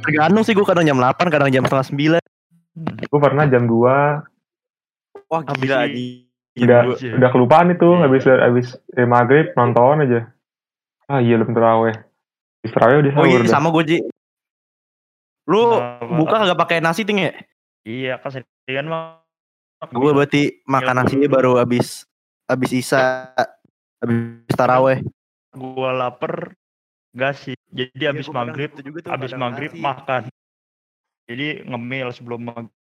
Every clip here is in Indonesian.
tergantung sih gue kadang jam 8, kadang jam setengah 9. Gue pernah jam 2 Wah Habis gila ini- di udah Iya. udah kelupaan itu Iya. habis habis eh, maghrib nonton aja. Ah iya belum teraweh. Habis teraweh udah Oh sahur. iya dah. sama gue Ji. Lu Kenapa? buka kagak pakai nasi ting ya? Iya keseringan mah. Gue berarti makan Iya. nasinya baru habis habis isa habis taraweh. Gue lapar. Gak sih. Jadi Iya, abis Iya, maghrib, abis maghrib makan. Jadi ngemil sebelum maghrib.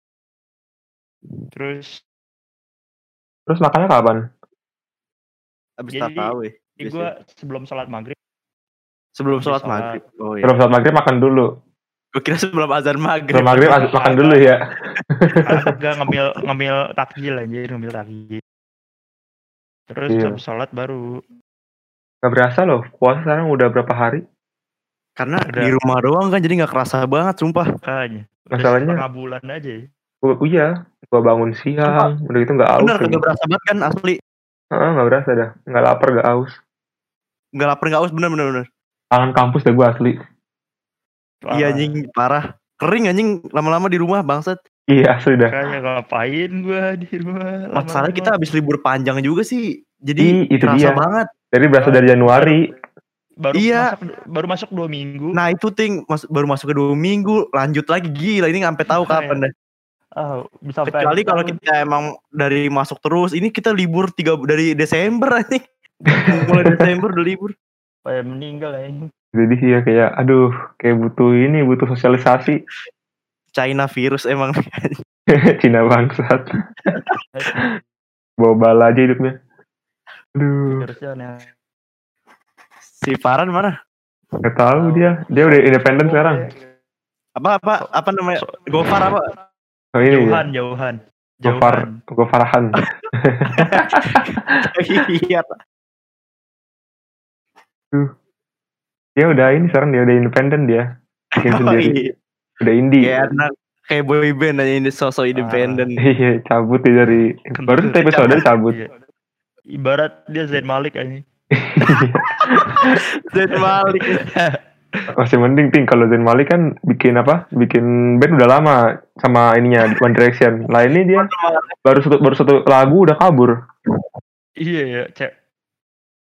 Terus Terus makannya kapan? habis Jadi, taraweh. Biasanya. gue sebelum sholat maghrib. Sebelum sholat sholat. maghrib. Oh iya. Sebelum sholat maghrib makan dulu. Gue kira sebelum azan maghrib. Sebelum maghrib as- makan dulu ya. Agak ngemil ngemil takjil anjir, ngemil takjil. Terus Iya. habis sholat baru. Gak berasa loh. Puasa sekarang udah berapa hari? Karena Udah. di rumah doang kan jadi nggak kerasa banget sumpah. Makanya. Udah Masalahnya- setengah bulan aja. ya. Gua iya. Gua bangun siang. Udah gitu nggak haus. Bener lagi. kagak berasa banget kan asli. Heeh, nggak berasa dah. Nggak lapar nggak haus. Nggak lapar nggak haus bener bener bener. Kangen kampus dah gue asli. Iya anjing parah. Kering anjing lama-lama di rumah bangsat. Iya asli dah. Kayak ngapain gue di rumah. Masalahnya kita habis libur panjang juga sih. Ih, Jadi itu kerasa dia. banget. Dari berasa dari Januari. baru Iya. masuk baru masuk dua minggu Nah itu ting mas- baru masuk ke dua minggu lanjut lagi gila ini nggak sampai tahu Makanya. kapan deh. Ah, bisa sampai Kecuali akhir kalau tahun. kita emang dari masuk terus ini kita libur tiga dari Desember anjing. Mulai Desember udah libur. Kayak meninggal ya ini. Jadi sih ya kayak aduh kayak butuh ini butuh sosialisasi China virus emang. Cina bangsat. Bawa bala aja hidupnya. Aduh, Terusnya aneh. Si Farhan mana? nggak tahu dia. Dia udah independen Oh, sekarang. iya, Apa apa apa namanya? So- Gofar apa? Oh ini Jauhan, dia. jauhan. Gofar, Jauhan. Gofarahan. Iya. Dia udah ini sekarang dia udah independen Iya, dia. Iya, Bikin Oh, sendiri. iya. Udah indie. Kayak anak iya, kayak boy band aja ini sosok independen. Iya, cabut dia dari baru satu episode cabut. Iya. Ibarat dia Zain Malik ini. Zain Malik. Masih mending ting kalau Zain Malik kan bikin apa? Bikin band udah lama sama ininya One Direction. Lah ini dia baru satu baru satu lagu udah kabur. Iya ya, cek.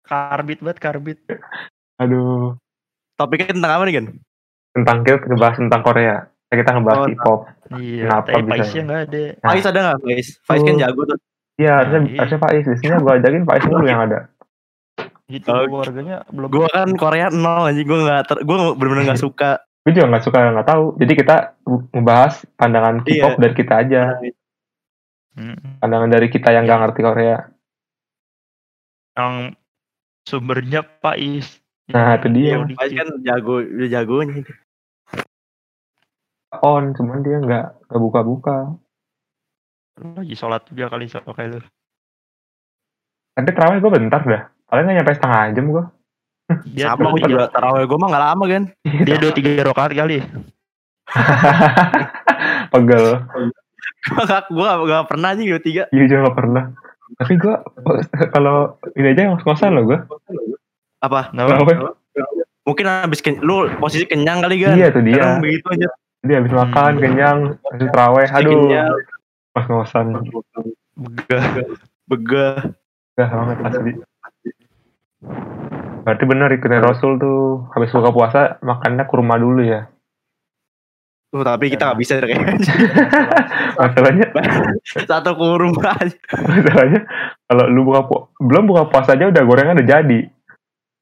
Karbit banget karbit. Aduh, Topiknya tentang apa nih kan? tentang kita ngebahas tentang Korea. Kita Oh, ngebahas hip hop. Iya, Kenapa tapi bisa? Paisnya enggak ada. Nah. Faiz ada nggak Faiz? Faiz kan Oh. jago tuh. Iya, harusnya, iya. harusnya Pak Is. Biasanya gue ajakin Pak Is dulu yang ada. Itu Oh. keluarganya Gitu, belum Gue kan Korea nol anjing gue nggak ter- gue bener-bener nggak suka Gue juga nggak suka nggak tahu. Jadi kita ngebahas pandangan K-pop Iya. dari kita aja. Mm. Pandangan dari kita yang nggak ngerti Korea. yang sumbernya Pais. Iya, Nah, itu dia. Yang Faiz kan jago udah jagonya itu. On, cuman dia nggak nggak buka-buka. lagi sholat juga kali sama kayak lu. Tadi terawih gue bentar dah. Paling nggak nyampe setengah jam gue. Iya, Dia sama dua, gue juga tarawih gue mah nggak lama kan dia dua tiga rokaat kali. Pegel. gue gak, gue gak, gak pernah anjing dua tiga Iya juga nggak pernah. Tapi gue kalau ini aja yang kosan loh gue. apa Kenapa? mungkin habis ken- lu posisi kenyang kali kan Iya tuh Kadang dia. begitu aja Dia habis makan, Hmm. kenyang, habis terawih. Aduh, kenyang. pas kosan. Begah. begah Gak banget asli. Berarti bener ikutin Rasul tuh habis buka puasa makannya kurma dulu ya. Tuh, Uh, tapi Iya. kita gak bisa kayak Masalahnya satu kurma aja. masalahnya kalau lu buka pu- belum buka puasa aja udah gorengan udah jadi.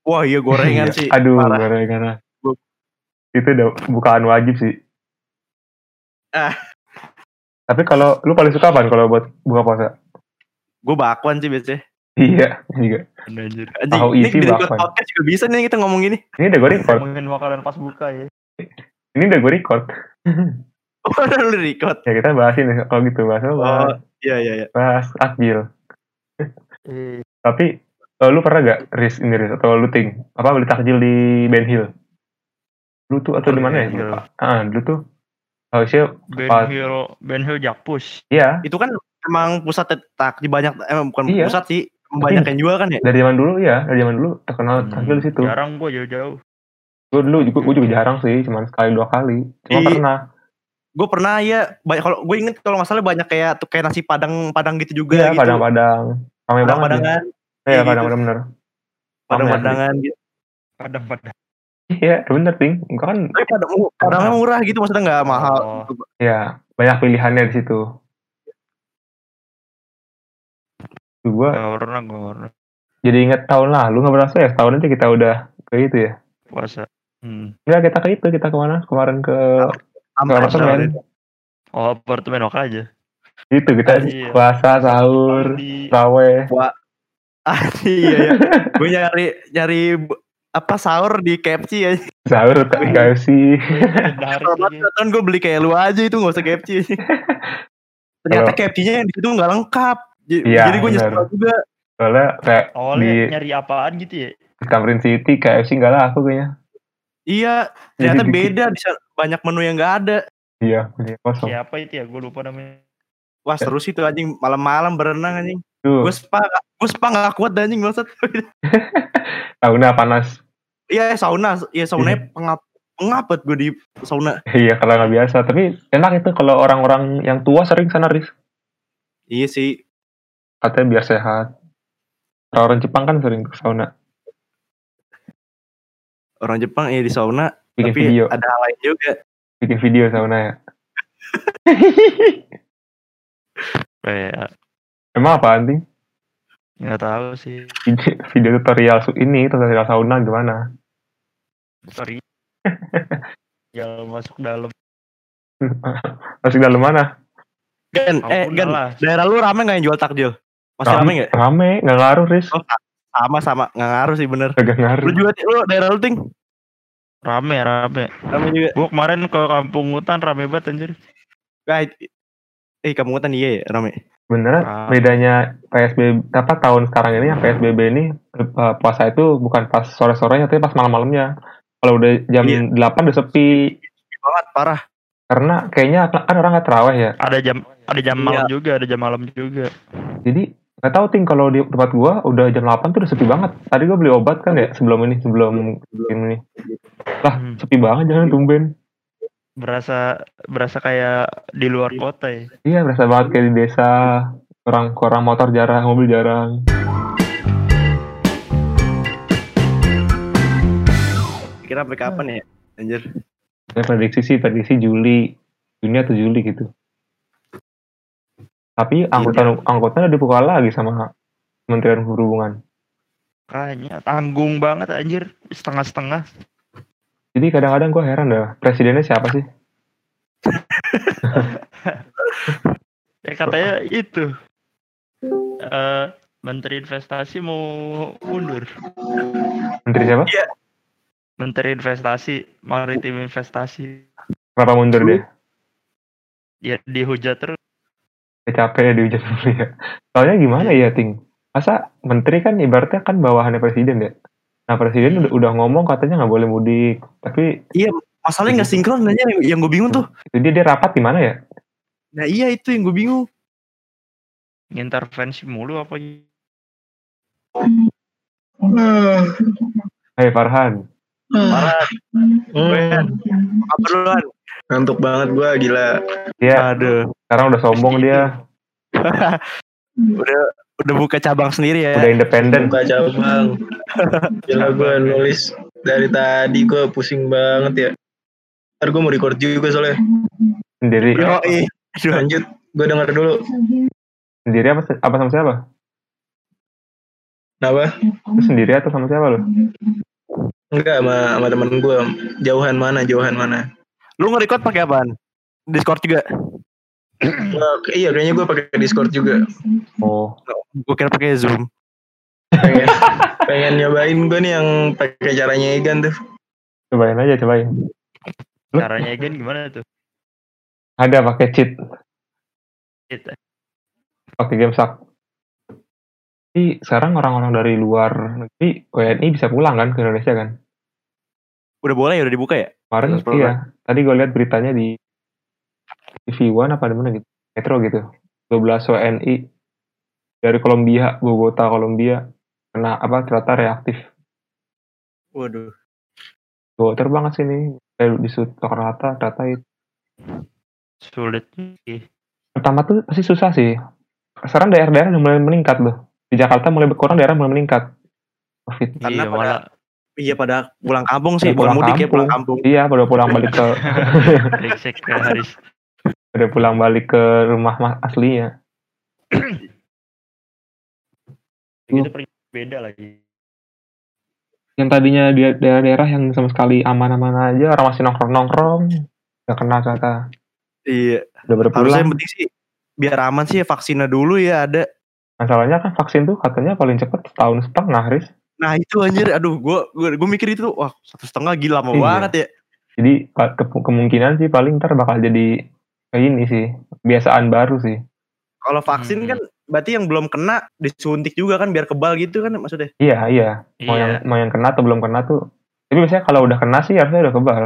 wah iya gorengan Iya. sih Aduh, parah. gorengan. Gua- Itu udah bukaan wajib sih. Ah. Tapi kalau lu paling suka apaan kalau buat buka puasa? gue bakwan sih biasanya Iya, juga. Anjir. anjing Tahu ini isi di record bakwan. podcast juga bisa nih kita ngomong gini Ini udah gue record. Ngomongin makanan pas buka ya. Ini udah gue record. oh lu record ya kita bahasin ya. kalau gitu bahas apa? oh iya iya iya bahas takjil. Eh, Tapi eh, lu pernah gak risk ini Riz? atau lu ting apa beli takjil di Ben Hill? Lu tuh atau di mana ya? Ben Hill. Lupa. Ah, dulu tuh harusnya Ben Pas. Hero, Ben Hero Jakpus. iya itu kan emang pusat tak di banyak emang bukan Iya. pusat sih emang banyak yang jual kan ya dari zaman iya, dulu ya dari zaman dulu terkenal Hmm, takjil di situ. Jarang gua jauh-jauh. Gue dulu juga, gue juga jarang sih, cuman sekali dua kali. Cuma Di- pernah. Gue pernah ya banyak kalau gue inget kalau masalah banyak kayak kayak nasi padang padang gitu juga Iya, gitu. padang-padang. Rame padang banget. ya. padangan, Iya, gitu. padang-padang bener. padang Rame. padangan gitu. kadang kadang Iya, bener ting. Enggak kan, Tapi padang padangnya murah gitu maksudnya nggak mahal. gitu, Oh. ya banyak pilihannya di situ. Gua nggak pernah nggak pernah jadi inget tahun lalu nggak berasa ya setahun aja kita udah ke itu ya. puasa hmm. Enggak kita ke itu kita kemana kemarin ke kan? ke Ampas, apartemen. oh apartemen oke aja Itu kita Iya. puasa Iya. sahur di raweh. Ah, iya ya. gue nyari nyari bu- apa sahur di KFC ya. sahur ke KFC. dari Kan gue beli kayak lu aja itu nggak usah KFC. Ternyata Kalau- KFC-nya yang di situ nggak lengkap. J- Iya, Jadi gue nyesel benar. juga. Soalnya kayak awalnya Di- nyari apaan gitu ya Tamrin City KFC enggak laku kayaknya. Iya, Jadi ternyata bikin- beda di sana banyak menu yang nggak ada. Iya, iya kosong. siapa itu ya gue lupa namanya Wah seru sih itu anjing malam-malam berenang anjing. Tuh, Gue spa, gue spa nggak kuat dah, anjing maksud. tahunnya panas. Iya sauna, iya saunanya pengap pengapet gue di sauna. Iya kalau nggak biasa, tapi enak itu kalau orang-orang yang tua sering sana Riz. Iya sih. Katanya biar sehat. Kalau orang Jepang kan sering ke sauna, Orang Jepang ya di sauna, bikin tapi video, ada hal lain juga. bikin video sauna ya. kayak Emang apaan sih? Eh, ya, nggak tahu sih Video- Video tutorial su- ini tutorial sauna gimana? sorry jalan masuk dalam Masih dalam mana? Gan, eh Ampun, Gan, lah. daerah lu rame nggak yang jual takjil? Masih rame nggak? Rame, nggak ngaruh Riz. Oh, Sama sama, nggak ngaruh sih bener. Kagak Lu ngaruh. juga Ti, lu daerah lu ting? rame rame Rame juga. gue kemarin ke kampung hutan rame banget anjir Nah, eh kamu kan iya ya rame. Bener, Rame. bedanya PSBB apa tahun sekarang ini yang PSBB ini eh, puasa itu bukan pas sore-sorenya, tapi pas malam-malamnya. Kalau udah jam Iya. 8 udah sepi, Sepi Banget parah. karena kayaknya kan orang nggak terawih ya ada jam ada jam Iya. malam juga ada jam malam juga jadi nggak tahu ting kalau di tempat gua udah jam 8 tuh udah sepi banget tadi gua beli obat kan ya sebelum ini Iya, sebelum ini lah Hmm. sepi banget jangan tumben berasa berasa kayak di luar kota ya iya berasa banget kayak di desa orang orang motor jarang mobil jarang Kira sampai kapan ya? Anjir. ya, prediksi sih prediksi Juli Juni atau Juli gitu tapi angkutan angkutan udah dibuka lagi sama Kementerian Perhubungan kayaknya tanggung banget anjir setengah setengah jadi kadang-kadang gua heran dah presidennya siapa sih ya katanya itu eh menteri investasi mau mundur Menteri siapa menteri investasi maritim investasi kenapa mundur dia ya dihujat terus Ya, capek ya dihujat dulu ya. Soalnya gimana ya Ting? Masa menteri kan ibaratnya kan bawahannya presiden ya? Nah presiden udah, udah ngomong katanya nggak boleh mudik. Tapi Masalahnya nggak sinkron aja yang, yang gue bingung tuh. itu dia dia rapat di mana ya? Nah iya itu yang gue bingung. intervensi mulu apa gitu. Hai Farhan. parah Hmm. Apa duluan? Ngantuk banget gua gila. Dia Aduh. Iya. sekarang udah sombong Pasti dia. udah udah buka cabang sendiri ya. Udah independen. Buka cabang. Gila gua nulis Ya dari tadi gua pusing banget ya. Ntar gua mau record juga soalnya. Sendiri. Yoi. Aduh. Lanjut, gua denger dulu. Sendiri apa, apa sama siapa? Kenapa? Lu sendiri atau sama siapa lu? Enggak sama, sama temen gua. Jauhan mana, jauhan mana. Lu nge-record pakai apaan? Discord juga. Wah, iya kayaknya gua pakai Discord juga. Oh. Gue kira pakai Zoom. Pengen, pengen nyobain gua nih yang pakai caranya Egan tuh. Cobain aja cobain. caranya Egan gimana tuh Ada pakai cheat. Kita- Pakai game sak. Tapi sekarang orang-orang dari luar negeri WNI bisa pulang kan ke Indonesia kan? Udah boleh ya udah dibuka ya? Kemarin Terus iya, tadi gue lihat beritanya di TV One apa di mana gitu, Metro gitu. 12 WNI dari Kolombia, Bogota, Kolombia kena apa ternyata reaktif. Waduh. Gua banget sini. Kayak di sutok rata, rata itu. Sulit sih. Pertama tuh pasti susah sih. Sekarang daerah-daerah udah mulai meningkat loh. Di Jakarta mulai berkurang, daerah mulai meningkat. Covid. Karena Iya, pada- malah Iya pada pulang kampung sih, Pada bukan pulang mudik ya pulang kampung. kampung. Iya, udah pulang balik ke Ringsek ke Haris. udah pulang balik ke rumah ma- ya. aslinya. Itu pergi beda lagi. Yang tadinya di daerah-daerah yang sama sekali aman-aman aja, orang masih nongkrong-nongkrong, nggak kena kata Iya. udah Harusnya berpulang. yang penting sih biar aman sih vaksinnya dulu ya ada. Masalahnya kan vaksin tuh katanya paling cepat setahun setengah, Riz. Nah itu anjir, aduh gue gue, mikir itu tuh, wah satu setengah gila mau Iya. banget ya. Jadi pa- ke- kemungkinan sih paling ntar bakal jadi kayak ini sih, kebiasaan baru sih. Kalau vaksin Hmm. kan berarti yang belum kena disuntik juga kan biar kebal gitu kan maksudnya. Iya, iya. Oh, Mau yang Iya. mau yang kena atau belum kena tuh. Tapi biasanya kalau udah kena sih harusnya udah kebal.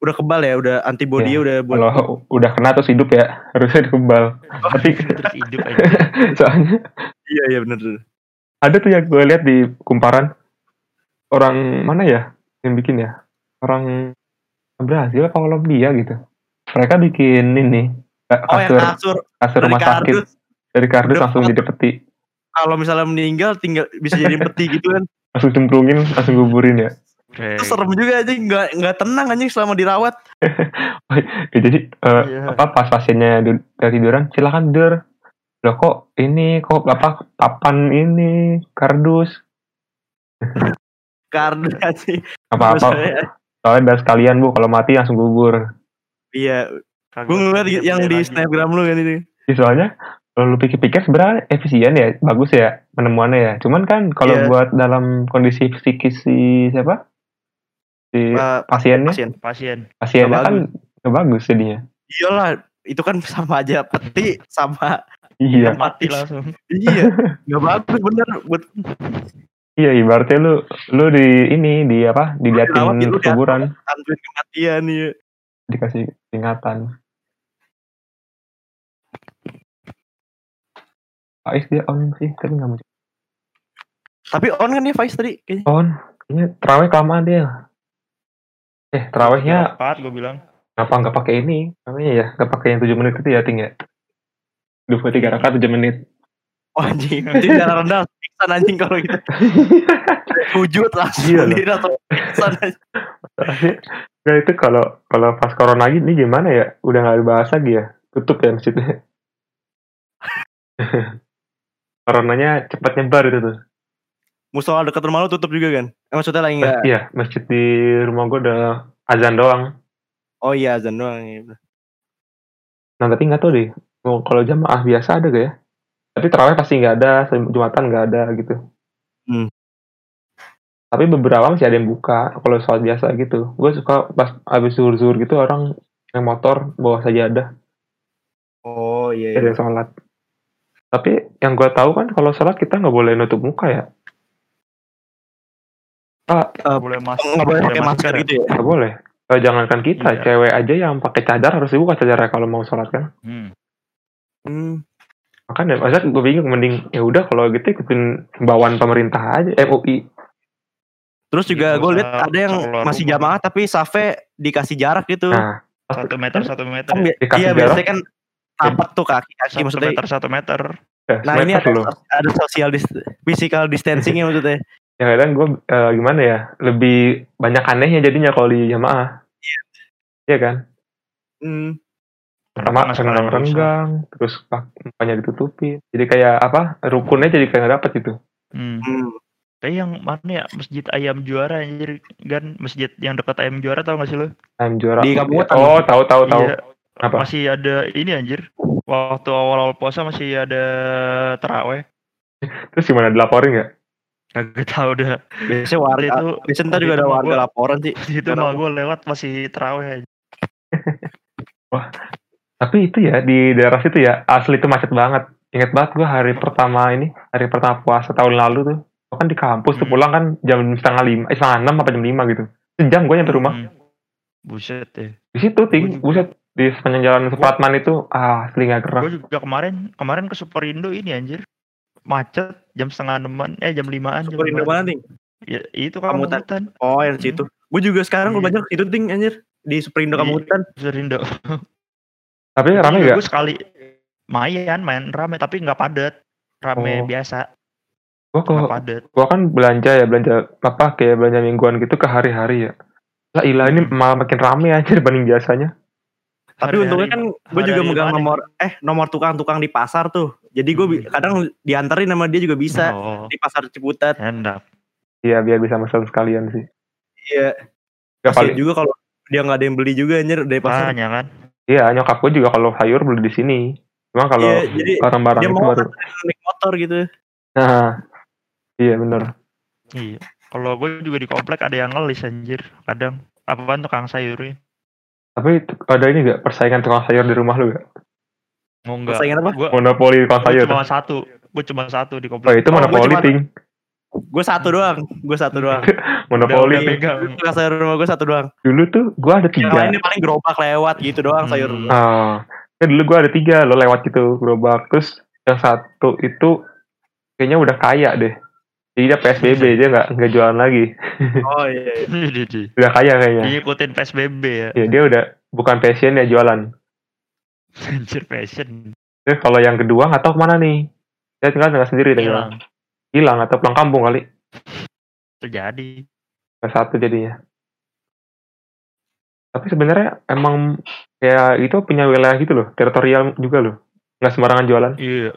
Udah kebal ya, udah antibodi Iya. udah buat. Kalau u- udah kena terus hidup ya, harusnya udah kebal. Tapi Iya, Terus hidup aja. soalnya Iya iya bener. bener. ada tuh yang gue lihat di kumparan orang mana ya yang bikin ya orang Brazil apa Kolombia gitu. Mereka bikin ini eh, Oh yang kasur kasur kasur dari rumah sakit kardus. dari kardus Udah langsung kuat. jadi peti Kalau misalnya meninggal tinggal bisa jadi peti gitu kan. langsung cemplungin langsung guburin ya. Itu serem juga aja nggak nggak tenang anjing selama dirawat. Ya, jadi eh, Iya. apa pas pasiennya du- dari tiduran silakan tidur loh kok ini kok apa papan ini kardus Kardus anjing. apa apa Maksudnya, soalnya dari sekalian bu kalau mati langsung kubur Iya, Kagak gue ngeliat punya yang di lagi. snapgram lu kan itu. Ya, soalnya kalau lu pikir-pikir sebenarnya efisien ya bagus ya penemuannya ya cuman kan kalau Iya. buat dalam kondisi psikis si siapa si Eh, pasiennya pasien. Pasien. Nggak pasiennya kan nggak bagus jadinya Iyalah, itu kan sama aja peti sama iya Mati langsung. iya nggak bagus bener buat iya ibaratnya lu lu di ini di apa dirawat, diliatin ya, lu dirawat. kuburan antuin kematian iya. dikasih ingatan. Faiz dia on sih, tapi nggak muncul. Tapi on kan ya Faiz tadi kayaknya. On, kayaknya terawih kelamaan dia. Eh, terawihnya Empat gue bilang. kenapa nggak pakai ini? Namanya ya, nggak pakai yang 7 menit itu ya, Ting ya? 23 rakaat 7 menit. Oh anjing, jadi darah rendah pingsan anjing kalau gitu. Wujud langsung Iya, iya, dia langsung pingsan anjing. Nah itu kalau kalau pas corona lagi ini gimana ya? Udah nggak dibahas lagi ya? Tutup ya masjidnya? Coronanya cepat nyebar itu tuh. Musola dekat rumah lu tutup juga kan? Eh, maksudnya lagi enggak? Iya, masjid di rumah gue udah azan doang. Oh iya azan doang. iya. Nah, tapi nggak tahu deh. Mau kalau jamaah biasa ada gak ya? Tapi terawih pasti nggak ada, sel- jumatan nggak ada gitu. Hmm. Tapi beberapa masih ada yang buka kalau sholat biasa gitu. Gue suka pas abis zuhur-zuhur gitu orang yang motor bawa sajadah Oh iya. ada iya. yang sholat. Tapi yang gue tahu kan kalau sholat kita nggak boleh nutup muka ya. Boleh Oh, masuk. Nggak boleh pakai masker gitu ya? Nggak boleh. Eh, jangankan kita, Iya. cewek aja yang pakai cadar harus dibuka cadarnya kalau mau sholat kan. Hmm. Hmm. Makanya, maksudnya gue bingung mending ya udah kalau gitu ikutin himbauan pemerintah aja eh, MUI. Terus juga Iya, gue lihat usah ada yang keluar masih rumah. jamaah tapi safe dikasih jarak gitu. Nah, Satu meter, satu meter. Kan ya. bi- dikasih iya jarak. biasanya kan rapat tuh kaki kaki Satu maksudnya. meter, satu meter. ya, Nah ini ada, semeter loh. ada social dis physical distancingnya maksudnya. Ya kadang gue gimana ya, lebih banyak anehnya jadinya kalau di jamaah. Iya kan? Hmm. Pertama Nggak sekalian rusak. renggang-renggang, terus pak- mukanya ditutupin. Jadi kayak apa, rukunnya jadi kayak gak dapet gitu. Hmm. Hmm. Tapi yang mana ya masjid ayam juara anjir kan masjid yang dekat ayam juara tau gak sih lo? Ayam juara. Di Kabupaten. Oh, tahu tahu tahu. Iya. Apa? Masih ada ini anjir. Waktu awal-awal puasa masih ada teraweh. Terus gimana dilaporin gak? Kagak tau dah. Biasanya Waktu warga. itu Biasanya ntar waktu juga itu ada mah warga gua- laporan sih. waktu itu mah gue lewat masih teraweh. anjir. Tapi itu ya, di daerah situ ya, asli itu macet banget. Ingat banget gue hari pertama ini, hari pertama puasa tahun lalu tuh. Gue kan di kampus tuh Hmm. pulang kan jam setengah lima, eh, setengah enam apa jam lima gitu. Sejam gue nyampe rumah. Hmm. Buset ya. Di situ, Ting. Gua juga. Buset. Di sepanjang jalan Supratman itu, ah, asli nggak gerak. Gue juga kemarin kemarin ke Superindo ini anjir. Macet jam setengah enaman eh jam limaan. jam Superindo limaan. mana nih? Ya, itu kan Kamutan. kamutan. Oh yang situ. Gue juga sekarang gue Iya. banyak itu ting anjir di Superindo Iya. kamu hutan. Serindo. Tapi rame gak? Gue sekali main, main rame tapi nggak padet. Rame Oh. biasa, Gue ke, nggak padet. gua kan belanja ya, belanja apa kayak belanja mingguan gitu ke hari-hari ya. Lah ilah ini malah makin rame anjir dibanding biasanya. Tapi untungnya gitu. kan gue juga hari-hari megang mana? nomor eh nomor tukang-tukang di pasar tuh. Jadi gue bi- Hmm. kadang diantarin sama dia juga bisa Oh, di pasar Ciputat. enak. Iya biar bisa mesen sekalian sih. Iya. Gak Kasian paling juga kalau dia nggak ada yang beli juga anjir dari pasar. Makanya kan. Iya, nyokap gue juga kalau sayur beli di sini. Cuma kalau Iya, jadi barang-barang dia itu mau baru. kan naik motor gitu. Nah, iya bener. Iya. Kalau gue juga di komplek ada yang ngelis anjir. Kadang apaan tukang sayurnya. Tapi tu- ada ini gak persaingan tukang sayur di rumah lu gak? Mau enggak? Persaingan apa? Gue Monopoli tukang sayur. cuma satu. Gue cuma satu di Oh komplek. itu Oh, gua monopoli cuma- ting. Gue Hmm. satu doang. Gue satu doang. Monopoli udah ting. pegang. Tukang sayur rumah gue satu doang. Dulu tuh gue ada Yang tiga. lainnya paling gerobak lewat gitu doang Hmm. sayur. Ah, kan dulu gue ada tiga. Lo lewat gitu gerobak. Terus yang satu itu kayaknya udah kaya deh. Jadi dia PSBB dia nggak nggak jualan lagi. Oh iya. iya. Iya, iya. Udah kaya kayaknya. Dia ikutin PSBB ya. Ya dia udah bukan passion ya jualan. Anjir fashion. Terus kalau yang kedua nggak tahu kemana nih. Dia tinggal tinggal Iya. sendiri tinggal. Hilang. hilang atau pulang kampung kali Terjadi. ke satu jadinya tapi sebenarnya emang kayak itu punya wilayah gitu loh teritorial juga loh nggak sembarangan jualan Iya.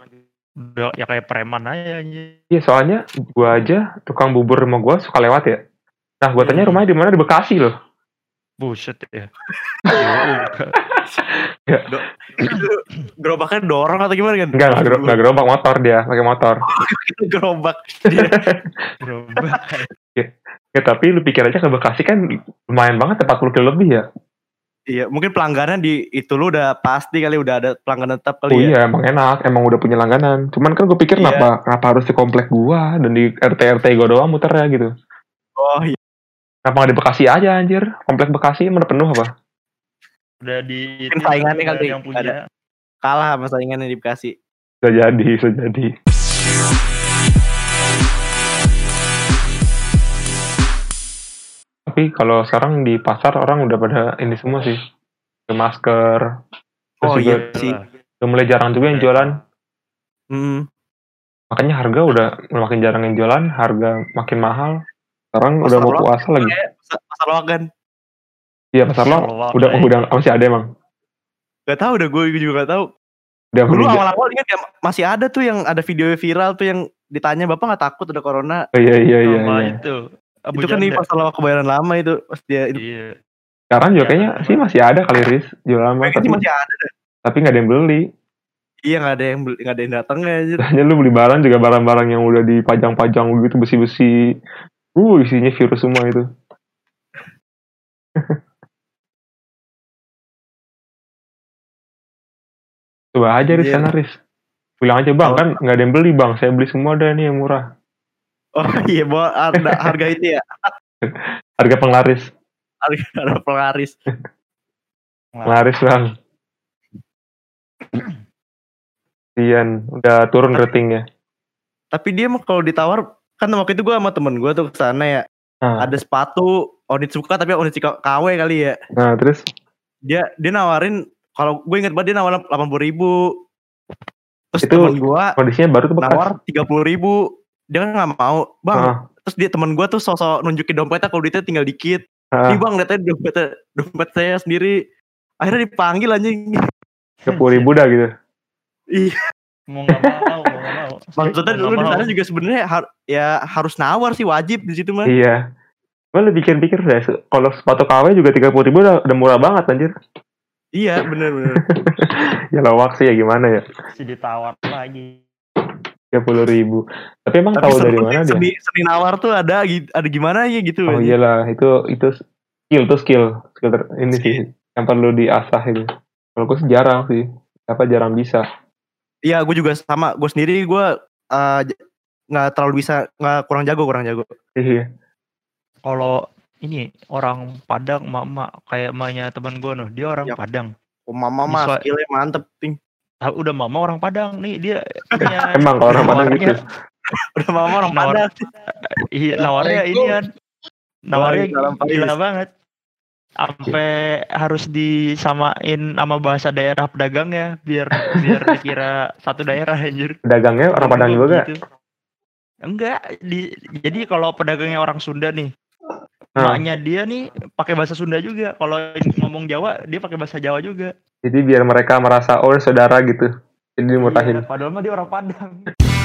Udah ya kayak preman aja anjir. iya soalnya gua aja tukang bubur rumah gua suka lewat ya nah gua tanya Hmm. rumahnya di mana di Bekasi loh Buset ya. Iya, enggak. Itu gerobaknya dorong atau gimana kan? enggak nggak gero- nggak gerobak motor dia pakai motor gerobak. Iya. Gerobak. ya tapi lu pikir aja ke Bekasi kan lumayan banget 40 kilo lebih ya Iya, mungkin pelanggannya di itu lu udah pasti kali udah ada pelanggan tetap oh kali ya. iya emang enak emang udah punya langganan cuman kan gua pikir Iya. kenapa kenapa harus di komplek gua dan di RT RT gua doang muternya gitu Oh iya. Kenapa nggak di Bekasi aja anjir? Komplek Bekasi mana penuh apa? Udah di Mungkin saingannya kali, yang punya. ada. Kalah sama saingannya di Bekasi. Bisa jadi, bisa jadi. Tapi kalau sekarang di pasar orang udah pada ini semua sih. Pakai masker. Terus Oh juga iya sih. udah mulai jarang juga yang jualan. Hmm. Makanya harga udah makin jarang yang jualan, harga makin mahal. Sekarang Pasar udah mau loak. puasa lagi. Kayak pasar- pasar loak kan. Iya, pasar lo Pasar loak, udah eh. udah masih ada emang. Gak tau udah gue juga gak tau. Udah Dulu meninggal. awal-awal ingat ya masih ada tuh yang ada video viral tuh yang ditanya bapak nggak takut ada corona. Oh, Iya, iya, iya, Sama iya. itu. Abu itu kan di Janda. pasar loak kebayoran lama itu pas dia itu. Iya. Sekarang juga kayaknya sih masih ada kali Riz jualan mah, Kayaknya tapi, sih masih ada. tapi nggak ada yang beli. Iya nggak ada yang beli- nggak ada yang datang ya. anjir. Hanya lu beli barang juga barang-barang yang udah dipajang-pajang gitu besi-besi. Uh, isinya virus semua itu. Coba aja di Iya. sana, Riz. Bilang aja, Bang, kan nggak ada yang beli, Bang. Saya beli semua deh nih yang murah. Oh iya bawa harga, harga itu ya Harga penglaris. harga, harga pelaris. Penglaris, Bang. Sian, udah turun ratingnya. Tapi dia mah kalau ditawar kan waktu itu gue sama temen gue tuh kesana ya Nah, ada sepatu Onitsuka tapi Onitsuka KW kali ya. nah terus Dia dia nawarin kalau gue inget banget dia nawarin delapan puluh ribu. Terus Itu- temen gue kondisinya baru tuh bekas. nawar tiga puluh ribu. Dia kan nggak mau bang. Ah, Terus dia temen gue tuh sosok nunjukin dompetnya kalau duitnya tinggal dikit. ah. Nih bang, lihatnya dompet, dompet saya sendiri. Akhirnya dipanggil anjing. tiga puluh ribu dah gitu. Iya. Mau nggak mau, mau nggak mau. Maksudnya Mau dulu di nggak sana mau. juga sebenarnya har- ya harus nawar sih wajib di situ mah. Iya. Gue lu pikir-pikir deh, se- kalau sepatu KW juga tiga puluh ribu udah, udah murah banget anjir. Iya, bener-bener. Ya lawak sih ya gimana ya, Masih ditawar lagi. tiga puluh ribu. Tapi emang tahu seru dari sih, mana dia? seni, seni nawar tuh ada gi- ada gimana ya gitu. Oh anjing. iyalah, itu itu skill tuh skill, skill ter- ini sih yang perlu diasah itu. Kalau gue sih jarang sih, apa jarang bisa. Iya, gue juga sama. Gue sendiri gue eh, j- nggak terlalu bisa nggak kurang jago kurang jago. Iya. Kalau ini orang Padang mama kayak emaknya teman gue noh dia orang Yap. Padang Oh, mama mah Bisa- skillnya mantep ting. Ah, udah mama orang Padang nih dia punya- Emang gitu. kalau orang Padang nawarnya- gitu. Udah mama orang Nawar- Padang. Iya, nawarnya ini kan nawarnya Waalaikumsalam, Faiz. gila banget sampai harus disamain sama bahasa daerah pedagangnya biar biar dikira satu daerah anjir Pedagangnya orang Padang juga gak? Gitu. enggak di- jadi kalau pedagangnya orang Sunda nih Nah, maknya dia nih pakai bahasa Sunda juga kalau ngomong Jawa dia pakai bahasa Jawa juga jadi biar mereka merasa oh saudara gitu. Jadi dimurahin. Iya, padahal mah dia orang Padang